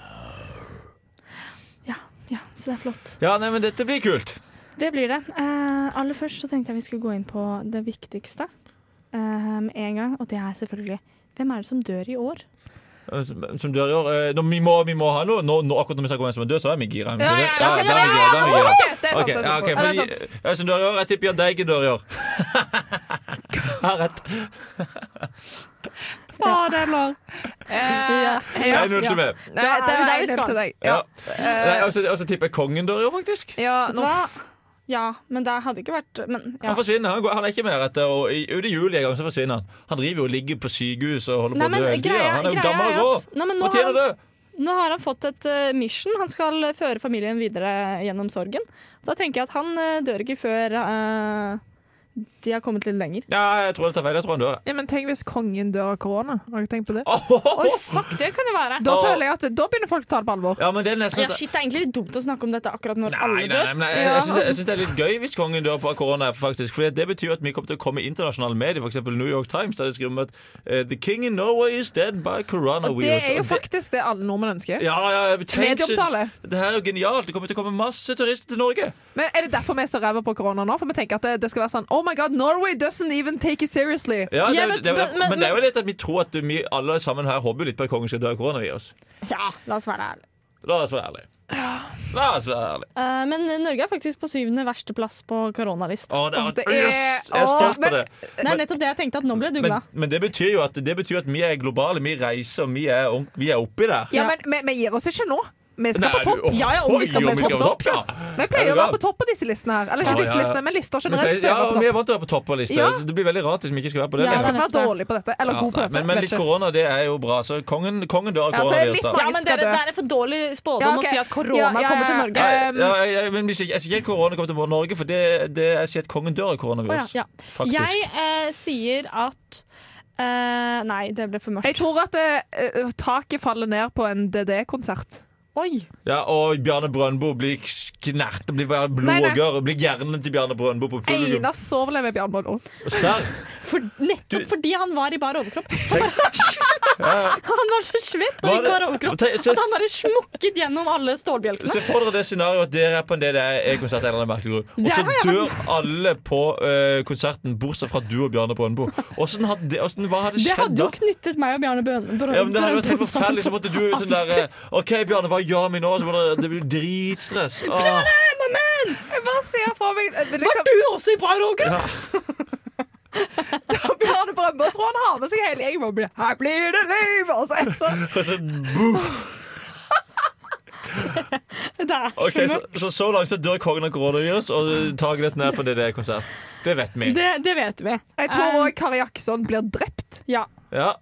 S1: Ja, ja, så det er flott.
S2: Ja, nei, men dette blir kult.
S1: Det blir det. Eh, aller først så tenkte jeg vi skulle gå inn på det viktigste eh, med en gang, og det er selvfølgelig hvem er det som dør i år?
S2: Eh, Som, som dør i år. Eh, nå, vi, må, vi må ha noe. Nå, nå, akkurat når vi snakker om hvem som er død, så er vi gira.
S4: Ja, ja, ja, ok,
S2: da er vi
S4: ja,
S2: gira, da er vi gira.
S4: ok, det er sant,
S2: Ok,
S4: det er sant.
S2: ja, ok,
S4: Ja, det er
S2: fordi, eh, Som dør i år. Jeg tipper Jahn Deige dør i år. Har rett.
S4: Fadeller. Ja. Eh,
S2: Det er null til meg.
S4: Eh, Nei, det er der vi skal. Til deg.
S2: Ja. Nei, Og så og så tipper jeg kongen dør i år, faktisk.
S4: ja
S1: Vet du
S4: nå
S1: hva? Ja, men det hadde ikke vært men, ja.
S2: Han forsvinner. Han, går, han er ikke mer etter og i, Ut i juli en gang, så forsvinner han. Han driver jo og ligger på sykehus og holder
S1: Nei,
S2: på
S1: men
S2: å dø hele tida.
S1: greia-
S2: Han er jo
S1: greia
S2: gammel
S1: er
S2: og grå.
S1: at- Nei, men nå
S2: Når tjener
S1: har
S2: du?
S1: Nå har han fått et eh, mission. Han skal eh, føre familien videre gjennom sorgen. Da tenker jeg at han eh, dør ikke før eh, de har kommet litt lenger.
S2: Ja, jeg tror det tar feil. Jeg tror han dør.
S4: Ja, men tenk hvis kongen dør av korona. Har dere tenkt på det?
S1: Oi, fuck, det kan det være.
S4: Da føler jeg at da begynner folk å ta det på alvor.
S2: Ja, men det er nesten
S1: Ja, shit, det er egentlig litt dumt å snakke om dette akkurat når
S2: Nei,
S1: alle
S2: nei,
S1: dør.
S2: nei, men jeg, jeg, synes, jeg synes det er litt gøy hvis kongen dør på korona, faktisk. Fordi det betyr at vi kommer til å komme i internasjonale medier, f.eks. New York Times, der de skriver om at eh, The king in Norway is dead by corona
S4: Og det
S2: virus.
S4: er
S2: Og
S4: jo
S2: det-
S4: faktisk det alle nordmenn ønsker.
S2: ja, ja, jeg- tenk, så-
S4: Medieomtale.
S2: Det her er jo genialt. Det kommer til å komme masse turister til Norge.
S4: Men Er det derfor vi er så ræva på korona nå? For vi tenker at det, det skal være sånn Oh my god, Norway doesn't even take it seriously.
S2: Ja, det,
S1: Ja,
S2: er-
S1: men-
S2: det, er-
S1: men- men-
S2: men det er jo litt at vi tror at vi alle sammen her håper jo litt på at kongen skal dø av koronavirus.
S1: Ja, la oss være ærlige.
S2: La oss være ærlige. La oss være ærlige.
S1: Eh, men Norge er faktisk på syvende verste plass på koronalista.
S2: Å, det er,
S4: det er-
S2: yes! Jeg er stolt
S4: Åh,
S2: av det.
S1: Det er nettopp det jeg tenkte at nå ble du
S2: Men,
S1: glad.
S2: men det betyr jo at, det betyr at vi er globale. Vi reiser, og vi er, ordent- vi er oppi der.
S4: Ja, men vi, vi gir oss ikke nå. Vi skal
S2: Nei,
S4: på topp.
S2: oh,
S4: Ja, ja, om
S2: oi,
S4: vi skal
S2: om
S4: på
S2: vi skal på
S4: topp.
S2: topp, ja.
S4: Vi
S2: Er
S4: pleier
S2: du
S4: å være
S2: gal?
S4: på topp på disse listene her. Eller
S2: Ja,
S4: ikke disse
S2: ja, ja.
S4: listene, men lister
S2: Vi
S4: generelt.
S2: pleier-
S4: pleier å
S2: Ja,
S4: være på
S2: og vi
S4: topp.
S2: er vant til å være på topp av lista.
S4: Ja.
S2: så Det blir veldig rart hvis vi ikke skal være på
S1: Ja,
S2: det. men-
S4: Jeg skal være
S1: nettopp.
S4: dårlig på dette. Eller
S2: Ja,
S4: god på
S2: nei,
S4: dette.
S2: men, men
S4: vet
S2: litt
S4: ikke.
S2: korona, det er jo bra. Så kongen, kongen dør av
S4: Ja, så er det
S2: koronavirus.
S4: litt
S2: da.
S4: mange
S1: Ja, men
S4: skal
S1: dere,
S4: dø.
S1: Det er for dårlig spådom
S4: ok.
S1: å si at korona
S4: Ja, ja,
S1: kommer til
S4: ja.
S1: Norge.
S4: Eh,
S2: Ja, jeg, jeg, men hvis jeg, jeg sier ikke korona kommer til Norge, for det, det, jeg sier at kongen dør av koronavirus.
S1: Å, ja, ja.
S2: Faktisk.
S1: Jeg eh, sier at eh, Nei, det ble for mørkt.
S4: Jeg tror at eh, taket faller ned på en DD-konsert.
S1: Oi!
S2: Ja, og Bjarne Brøndbo blir knert, blir bare
S4: Nei, nei.
S2: blodåger. Blir hjernen til Bjarne Brøndbo på publikum.
S4: Einar overlever Bjørn Borg.
S2: Og Serr?
S1: For, nettopp
S2: Du-
S1: fordi han var i bar overkropp. Han var, han var så svett og
S2: Var
S1: i
S2: det-
S1: bar overkropp
S2: Tenk- se-
S1: at han bare smukket gjennom alle stålbjelkene.
S2: Se for dere det scenarioet at dere er på en DDE-konsert, en eller annen merkelig grunn. og
S1: Der har
S2: så
S1: jeg
S2: dør alle på eh, konserten, bortsett fra du og Bjarne Brøndbo. Åssen hadde det- åssen- hva hadde
S1: Det
S2: skjedd
S1: hadde
S2: da?
S1: jo knyttet meg og Bjarne Brøn- Brøn.
S2: Ja, men det hadde vært helt
S1: Brøn-
S2: forferdelig. Så måtte du sånn der eh, OK, Bjarne, hva gjør vi nå? Så må dere- det blir dritstress. Ah, Åh.
S4: Jeg bare ser for meg eh,
S1: Var
S4: liksom,
S1: du også i bar overkropp?
S2: Ja.
S4: Bjørn Brøndbo tror han har med seg hele gjengen. og blir, Her blir det liv! Og så er jeg sånn
S2: Og så boff.
S1: Det er så
S2: Ok, så, så så langt så dør kongen av koronavirus, og taket ditt ned på DDE-konsert. Det vet vi.
S1: Det, det vet vi.
S4: Jeg tror òg Kari Jakkesson blir drept.
S1: Ja.
S2: Ja.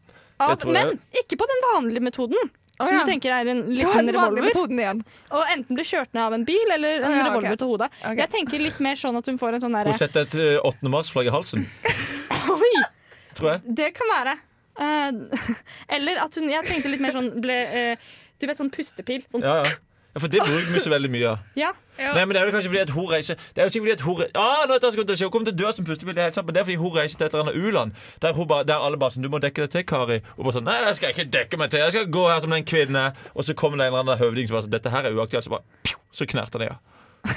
S2: Det tror jeg.
S1: Men ikke på den vanlige metoden. Som
S4: ja.
S1: du tenker er en
S4: Hva er
S1: liten
S4: den vanlige
S1: revolver.
S4: metoden igjen?
S1: Og enten blir kjørt ned av en bil eller en
S4: Å, ja, ok.
S1: revolver til hodet.
S4: Ok.
S1: Jeg tenker litt mer sånn at hun får en sånn derre
S2: Hun setter et eh, 8. mars-flagg i halsen,
S1: Oi!
S2: tror jeg.
S1: Det kan være. Eh, eller at hun Jeg tenkte litt mer sånn ble, eh, Du vet sånn pustepil. Sånn,
S2: Ja, ja. Ja, for det bruker vi så veldig mye av.
S1: Ja.
S2: Nei, men Det er jo kanskje fordi at hun reiser Det er jo sikkert fordi at hun reiser ah, nå vet jeg hva som kommer til å skje. Hun kommer til å dø som pustebilde, helt sant, men det er fordi hun reiser til et eller annet u-land. Der, hun bare- der alle bare sånn Du må dekke deg til, Kari. Hun bare sånn Nei, det skal jeg ikke dekke meg til. Jeg skal gå her som den kvinne. Og så kommer det en eller annen høvding som bare sånn Dette her er uaktuelt. Så bare pju, Så knerter det, ja.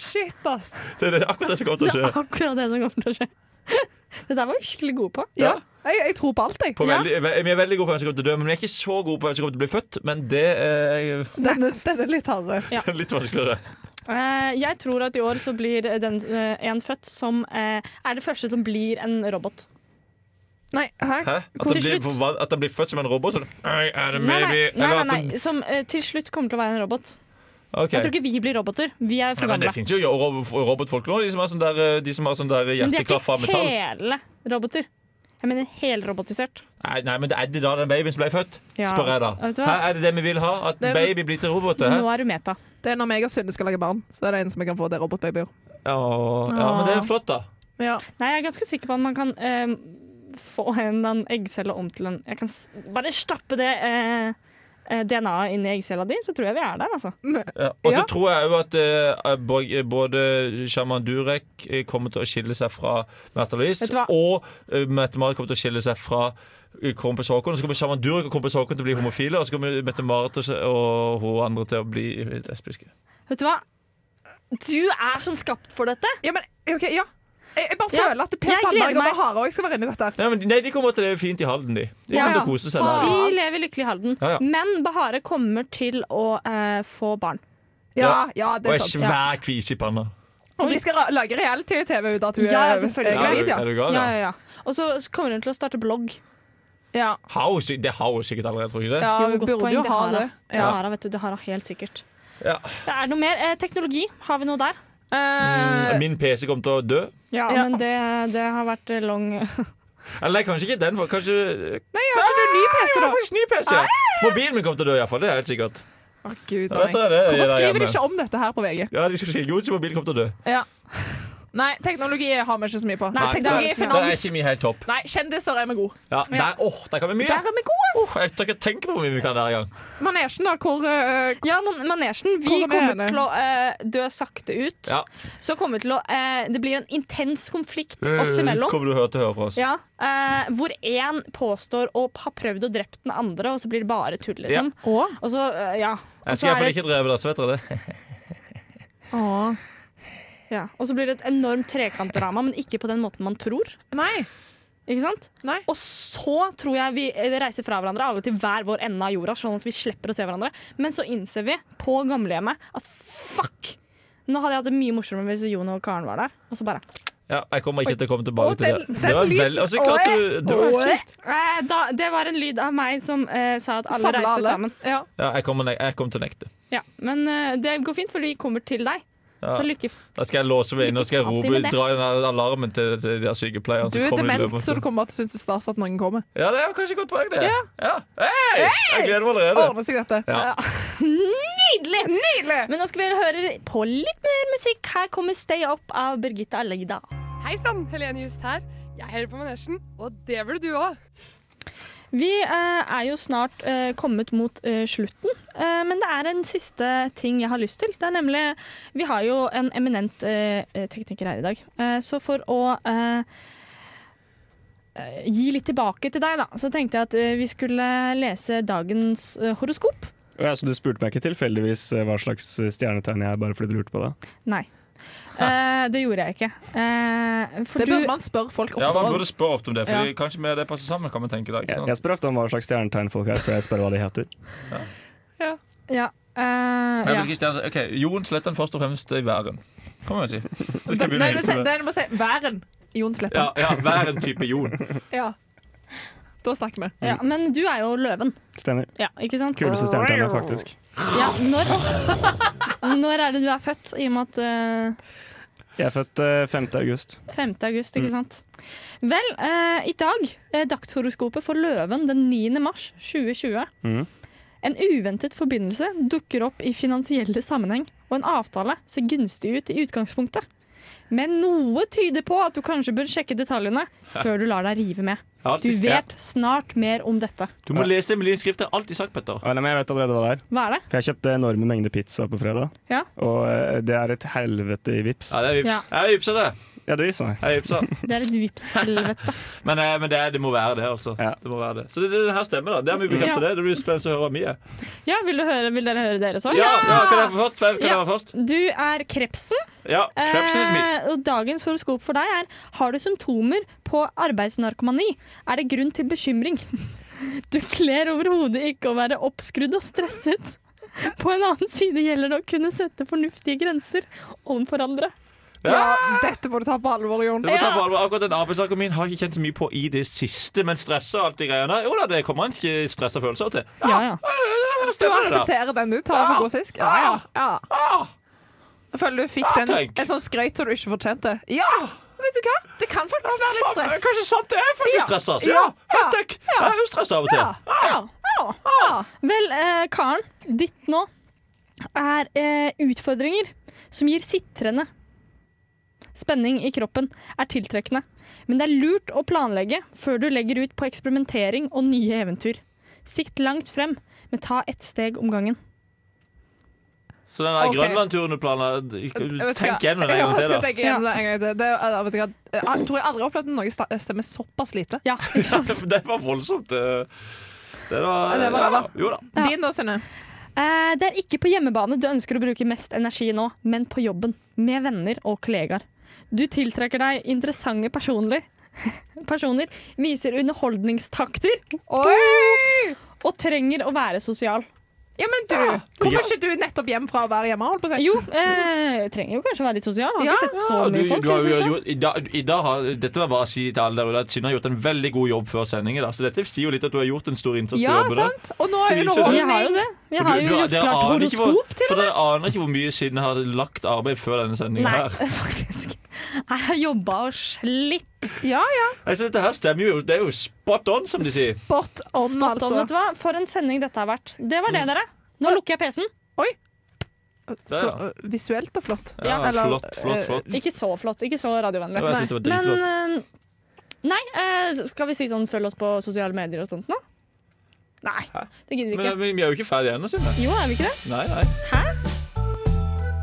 S1: Shit, ass.
S2: Det er det, akkurat det som kommer til å
S1: Det er
S2: skje.
S1: akkurat det som kommer til å skje. Det der var vi skikkelig gode på.
S2: Ja.
S4: Jeg, jeg tror på alt, jeg.
S2: På veldig, ve- Vi er veldig gode på hvem som kommer til å dø, men vi er ikke så gode på hvem som kommer til å bli født. Men det er
S4: Den, den er litt hardere.
S1: Ja.
S2: litt vanskeligere.
S1: Eh, jeg tror at i år så blir den, eh, en født som eh, er det første som blir en robot.
S4: Nei,
S2: Hæ? At han, blir, forvan- at han blir født som en robot? Sånn, I am
S1: Nei,
S2: a
S1: nei,
S2: baby.
S1: nei,
S2: Eller
S1: nei,
S2: at han-
S1: nei. Som eh, til slutt kommer til å være en robot.
S2: Ok.
S1: Jeg tror ikke vi blir roboter. Vi er
S2: Nei,
S1: for
S2: men det
S1: gamle.
S2: fins jo ro- robotfolk nå, de som har sånn der, eh, de som har sånn der
S1: Men de er
S2: hjerteklaff av
S1: ikke
S2: metall.
S1: hele roboter. Jeg mener helrobotisert.
S2: Nei, nei, men er det da den babyen som ble født?
S1: Ja.
S2: Spør jeg da.
S1: Vet du hva?
S2: Hæ, er det det vi vil ha? At
S4: Det er-
S2: baby blir til roboter? hæ?
S1: Nå er du meta.
S4: Det er når meg og Synne skal lage barn, så er det en som jeg kan få det robotbabyer.
S2: Åh, ja, men det er flott, da.
S1: Nei, jeg er ganske sikker på at man kan eh, få en eller annen eggcelle om til en Jeg kan s bare stappe det eh, DNA-et inn i eggcella di, så tror jeg vi er der, altså.
S2: Ja. Og så
S1: Ja.
S2: tror jeg òg at eh, Borg- eh, både Sjaman Durek eh, kommer til å skille seg fra Märtha Louise,
S1: Vet du hva?
S2: og uh, Mette-Marit kommer til å skille seg fra eh, Kronprins Haakon. Og så kommer Sjaman Durek og Kronprins Haakon til å bli homofile, og så kommer Mette-Marit og, og hun andre til å bli eh, lesbiske.
S1: Vet du hva? Du er som skapt for dette.
S4: Ja, men, ok, ja. Jeg, jeg bare
S1: Ja.
S4: føler at Per
S1: Jeg gleder
S4: Sandberg og
S1: meg.
S4: Bahare òg skal være inne i dette. her.
S2: Nei, men, de- nei, de kommer til å leve fint i Halden, de. De kommer til å kose seg der.
S1: De lever lykkelig i Halden.
S2: Ja, ja.
S1: Men Bahare kommer til å eh, få barn.
S4: Ja, ja,
S2: og
S4: det
S2: er
S4: er sant. Ja.
S2: svær kvise i panna.
S4: Og de skal ra- lage reality-TV ut av at hun
S1: Ja, ja,
S4: er-
S1: selvfølgelig.
S4: er gravid. Ja.
S2: Er du
S1: Ja,
S2: gal, ja?
S1: ja, ja. Og så kommer hun til å starte blogg.
S4: Ja.
S2: Har hun sik- det har hun sikkert allerede, tror du ikke det?
S4: Ja,
S1: Jo,
S4: hun
S1: godt
S4: burde
S1: poeng.
S4: jo
S1: Det
S4: ha
S1: har hun.
S4: det.
S1: Det har hun, vet du. Det har hun helt sikkert.
S2: Ja.
S1: Det er noe mer. Eh, teknologi, har vi noe der?
S4: Eh,
S2: Min PC kommer til å dø.
S1: Ja,
S4: Ja.
S1: men det, det har vært eh, lang
S2: Eller nei, kanskje ikke den, for kanskje Nei,
S4: Nei, har ikke du ny PC,
S2: jeg
S4: da?
S2: har faktisk ny PC. Mobilen min kommer til å dø, iallfall. Det er helt sikkert.
S4: Å, Gud,
S2: Ja,
S4: nei.
S2: dette er det jeg
S4: Hvorfor
S2: gjør
S4: skriver de
S2: hjemme.
S4: ikke om dette her på VG?
S2: Ja, de skal skrive Jonas' mobil kommer til å dø.
S4: Nei, teknologi har vi ikke så mye på.
S1: Nei,
S4: teknologi,
S2: der, der er
S4: finans.
S2: ikke vi helt topp.
S4: Nei, kjendiser er vi gode.
S2: Ja, der, åh, der kan vi mye.
S4: Der er vi gode, ass!
S2: Åh, jeg tør ikke tenke på hvor mye vi kan der engang.
S4: Manesjen, da, hvor eh,
S1: Ja, man manesjen. Vi
S4: Hvor er
S1: kommer
S4: det?
S1: til å eh, dø sakte ut.
S2: Ja.
S1: Så kommer vi til å eh, Det blir en intens konflikt
S2: Eh,
S1: oss imellom.
S2: Kommer du å høre til å høre fra oss.
S1: Ja, eh, hvor én påstår å ha prøvd å drept den andre, og så blir det bare tull, liksom. Og så, eh, ja. Og
S2: Jeg
S1: så er
S2: skal iallfall
S1: det
S2: ikke dreve det, så vet dere det.
S4: Åh.
S1: et- ja. Og så blir det et enormt trekantdrama, men ikke på den måten man tror.
S4: Nei.
S1: Ikke sant?
S4: Nei.
S1: Og så tror jeg vi eh, reiser fra hverandre, alle til hver vår ende av jorda, sånn at vi slipper å se hverandre. Men så innser vi på gamlehjemmet at fuck! Nå hadde jeg hatt det mye morsommere hvis Jon og Karen var der. Og så bare
S2: Ja, jeg kommer ikke til å komme tilbake
S4: Åh,
S2: til
S4: den-
S2: det.
S4: den
S2: Det var
S4: lyden.
S2: vel, altså, ikke at du, det var helt sykt.
S1: eh, da, Det var en lyd av meg som eh, sa at alle
S4: Samla
S1: reiste
S4: alle.
S1: sammen.
S4: Ja.
S2: Ja, jeg kommer, ne- jeg kommer til å nekte.
S1: Ja, men eh, det går fint, for de kommer til deg.
S2: Ja.
S1: Så lykke f-
S2: Da skal jeg låse meg inne og skal jeg
S1: Alltid
S2: rope,
S1: med det.
S2: dra inn alarmen til, til de der sykepleierne.
S4: Du
S2: som
S4: er
S2: kommer i
S4: dement,
S2: løpet av-
S4: så du kommer til å synes det er stas at noen kommer.
S2: Ja, det er jo kanskje et godt poeng, det.
S4: Ja.
S2: Hei! Jeg gleder meg allerede.
S4: Ordner seg dette.
S2: Ja.
S1: Nydelig! Men nå skal vi høre på litt mer musikk. Her kommer Stay Up av Birgitte Allegda.
S11: Hei sann, Helene Just her. Jeg hører på Manesjen, og det burde du òg.
S1: Vi eh, er jo snart eh, kommet mot eh, slutten, eh, men det er en siste ting jeg har lyst til. Det er nemlig Vi har jo en eminent eh, tekniker her i dag, eh, så for å eh, eh, Gi litt tilbake til deg, da. Så tenkte jeg at eh, vi skulle lese dagens eh, horoskop.
S10: Ja, så du spurte meg ikke tilfeldigvis eh, hva slags stjernetegn jeg er, bare fordi du lurte på det?
S1: Nei. Eh, det gjorde jeg ikke. Eh, for
S4: Det burde
S1: du
S4: man spørre folk
S2: Ja,
S4: ofte
S2: Man
S4: om.
S2: burde spørre ofte om det, for
S1: Ja.
S2: kanskje med det passer sammen. kan man tenke i dag.
S10: Jeg,
S2: ikke sant?
S10: jeg spør ofte om hva slags stjernetegn folk er, for jeg spør hva de heter.
S1: Ja. eh,
S2: Men
S1: ja.
S2: hvilke stjerner- ok, Jon Slettan først og fremst i væren. Kan man jo si. Det skal jeg begynne å
S4: Nei, du må
S2: hilse
S4: si,
S2: med.
S4: nei, du må si væren. Jon
S2: Ja,
S4: Sleppa.
S2: ja, væren-type Jon.
S4: Ja. Da snakker vi.
S1: ja, men du er jo løven.
S10: Stemmer.
S1: Ja, ikke sant?
S10: Kuleste stjernetegnet, faktisk.
S1: Ja, når, når er det du er født? I og med at eh,
S10: Jeg er født eh, 5. august.
S1: 5. august,
S2: Mm.
S1: ikke sant? Vel, eh, i dag, eh, dagshoroskopet for løven den 9. mars 2020.
S2: Mm.
S10: Mhm.
S1: En uventet forbindelse dukker opp i finansielle sammenheng, og en avtale ser gunstig ut i utgangspunktet. Men noe tyder på at du kanskje bør sjekke detaljene før du lar deg rive med.
S2: Jeg har
S1: Du
S2: alltid-
S1: vet snart mer om dette.
S2: Du må lese Emilies skrift. Det har jeg alltid sagt, Petter.
S10: Ja, nei, men jeg vet allerede hva det er.
S1: Hva er det?
S10: For jeg kjøpte enorme mengder pizza på fredag,
S1: Ja.
S10: og eh, det er et helvete i vips.
S2: Ja, det er vips.
S1: Ja.
S2: Jeg vipser det.
S10: Ja, du vipsa meg.
S2: Jeg vipser.
S1: Det er et vips-helvete.
S2: Men, eh, men det, det må være det, altså. Det må være det. Så det, det, det her stemmer, da. Det har vi bekreftet.
S1: Ja.
S2: Det Det blir spennende å høre hva mi er.
S1: Ja, vil, du høre, vil dere høre deres òg?
S2: Ja, ja, kan jeg få først? Kan jeg
S1: Ja.
S2: være først?
S1: Du er krepsen.
S2: Ja. Krepsen is me.
S1: Eh, og dagens horoskop for deg er Har du symptomer på arbeidsnarkomani? Er det grunn til bekymring? Du kler overhodet ikke å være oppskrudd og stresset. På en annen side gjelder det å kunne sette fornuftige grenser overfor andre.
S2: Ja,
S4: dette må du ta på alvor, Jon.
S2: Det må ta på alvor. Akkurat den arbeidssaken min har jeg ikke kjent så mye på i det siste, men stressa og alt de greiene. Jo da, det kommer han ikke stressa følelser til.
S1: Ja, ja.
S4: Du
S2: stemmer det da. Ah,
S4: aksepterer den du tar for god fisk? Ja, ja. ja. Jeg føler du fikk
S2: Ja,
S4: den,
S2: tenk.
S4: en sånn skrøyt som du ikke fortjente. Ja! Vet du hva? Det kan faktisk være litt stress.
S2: Kanskje sant det er faktisk stress, altså. Ja, ja, takk. Jeg er jo stressa av og til.
S1: Ja. Ja. Vel, eh, Karen, ditt nå er eh, utfordringer som gir sitrende spenning i kroppen, er tiltrekkende. Men det er lurt å planlegge før du legger ut på eksperimentering og nye eventyr. Sikt langt frem, men ta ett steg om gangen.
S2: Så den der
S4: Ok.
S2: Grønland-turen du planla,
S4: Jeg vet
S2: tenk
S4: ikke.
S2: gjennom det en gang
S4: Ja,
S2: til,
S4: jeg skal
S2: da.
S4: tenke gjennom det en gang til. Det er- jeg vet ikke hva- Jeg tror jeg aldri har opplevd at noe sta- stemmer såpass lite.
S1: Ja,
S2: Det var voldsomt. Det, det var,
S4: Det var
S2: ja,
S4: ræva.
S2: Jo da.
S4: Din da, Synne?
S1: Eh, det er ikke på hjemmebane du ønsker å bruke mest energi nå, men på jobben, med venner og kollegaer. Du tiltrekker deg interessante personer, personer viser underholdningstakter Boom! og trenger å være sosial.
S4: Ja, men du, hvorfor er ikke du nettopp hjem fra å være hjemme? Holdt på å si?
S1: Jo, eh, trenger jo kanskje å være litt sosial. Har
S4: Ja,
S1: ikke sett så
S2: Ja,
S1: mye
S2: du,
S1: folk.
S2: du har,
S1: i det
S2: jo
S1: siste.
S2: gjort- i dag, i dag har, dette må jeg bare si til alle der ute at Synne har gjort en veldig god jobb før sendingen. Da. Så dette sier jo litt at du har gjort en stor innsats. på
S4: Ja,
S2: jobben, da.
S4: sant? Og nå er
S2: Det
S4: jo
S2: viser det.
S1: Jeg har jo det. Jeg
S2: For
S1: har
S2: du-
S1: jo
S2: du-
S1: gjort
S2: dere
S1: klart
S2: aner ikke hvor-
S1: horoskop til
S2: For
S1: og med.
S2: dere aner ikke hvor mye Synne har lagt arbeid før denne sendingen
S1: Nei,
S2: her.
S1: faktisk. Jeg har jobba og slitt.
S4: Ja, ja.
S2: Altså, dette her stemmer jo. Det er jo spot on, som de sier.
S4: Spot on,
S1: Spot on,
S4: altså.
S1: vet du hva? For en sending dette har vært. Det var
S2: Mm.
S1: det, dere. Nå lukker jeg PC-en.
S2: Der,
S4: Så
S2: ja.
S4: øh, visuelt og flott.
S2: Ja,
S4: Eller,
S2: flott, flott,
S4: øh,
S2: flott.
S1: Ikke så flott, ikke så radiovennlig.
S2: Ja, jeg synes det var
S1: Men eh, Nei, eh, skal vi si sånn følg oss på sosiale medier og sånt nå? Nei, det gidder vi
S2: Men
S1: ikke.
S2: vi, vi er jo ikke ferdige ennå, Synne.
S1: Jo, er vi ikke det?
S2: Nei, nei.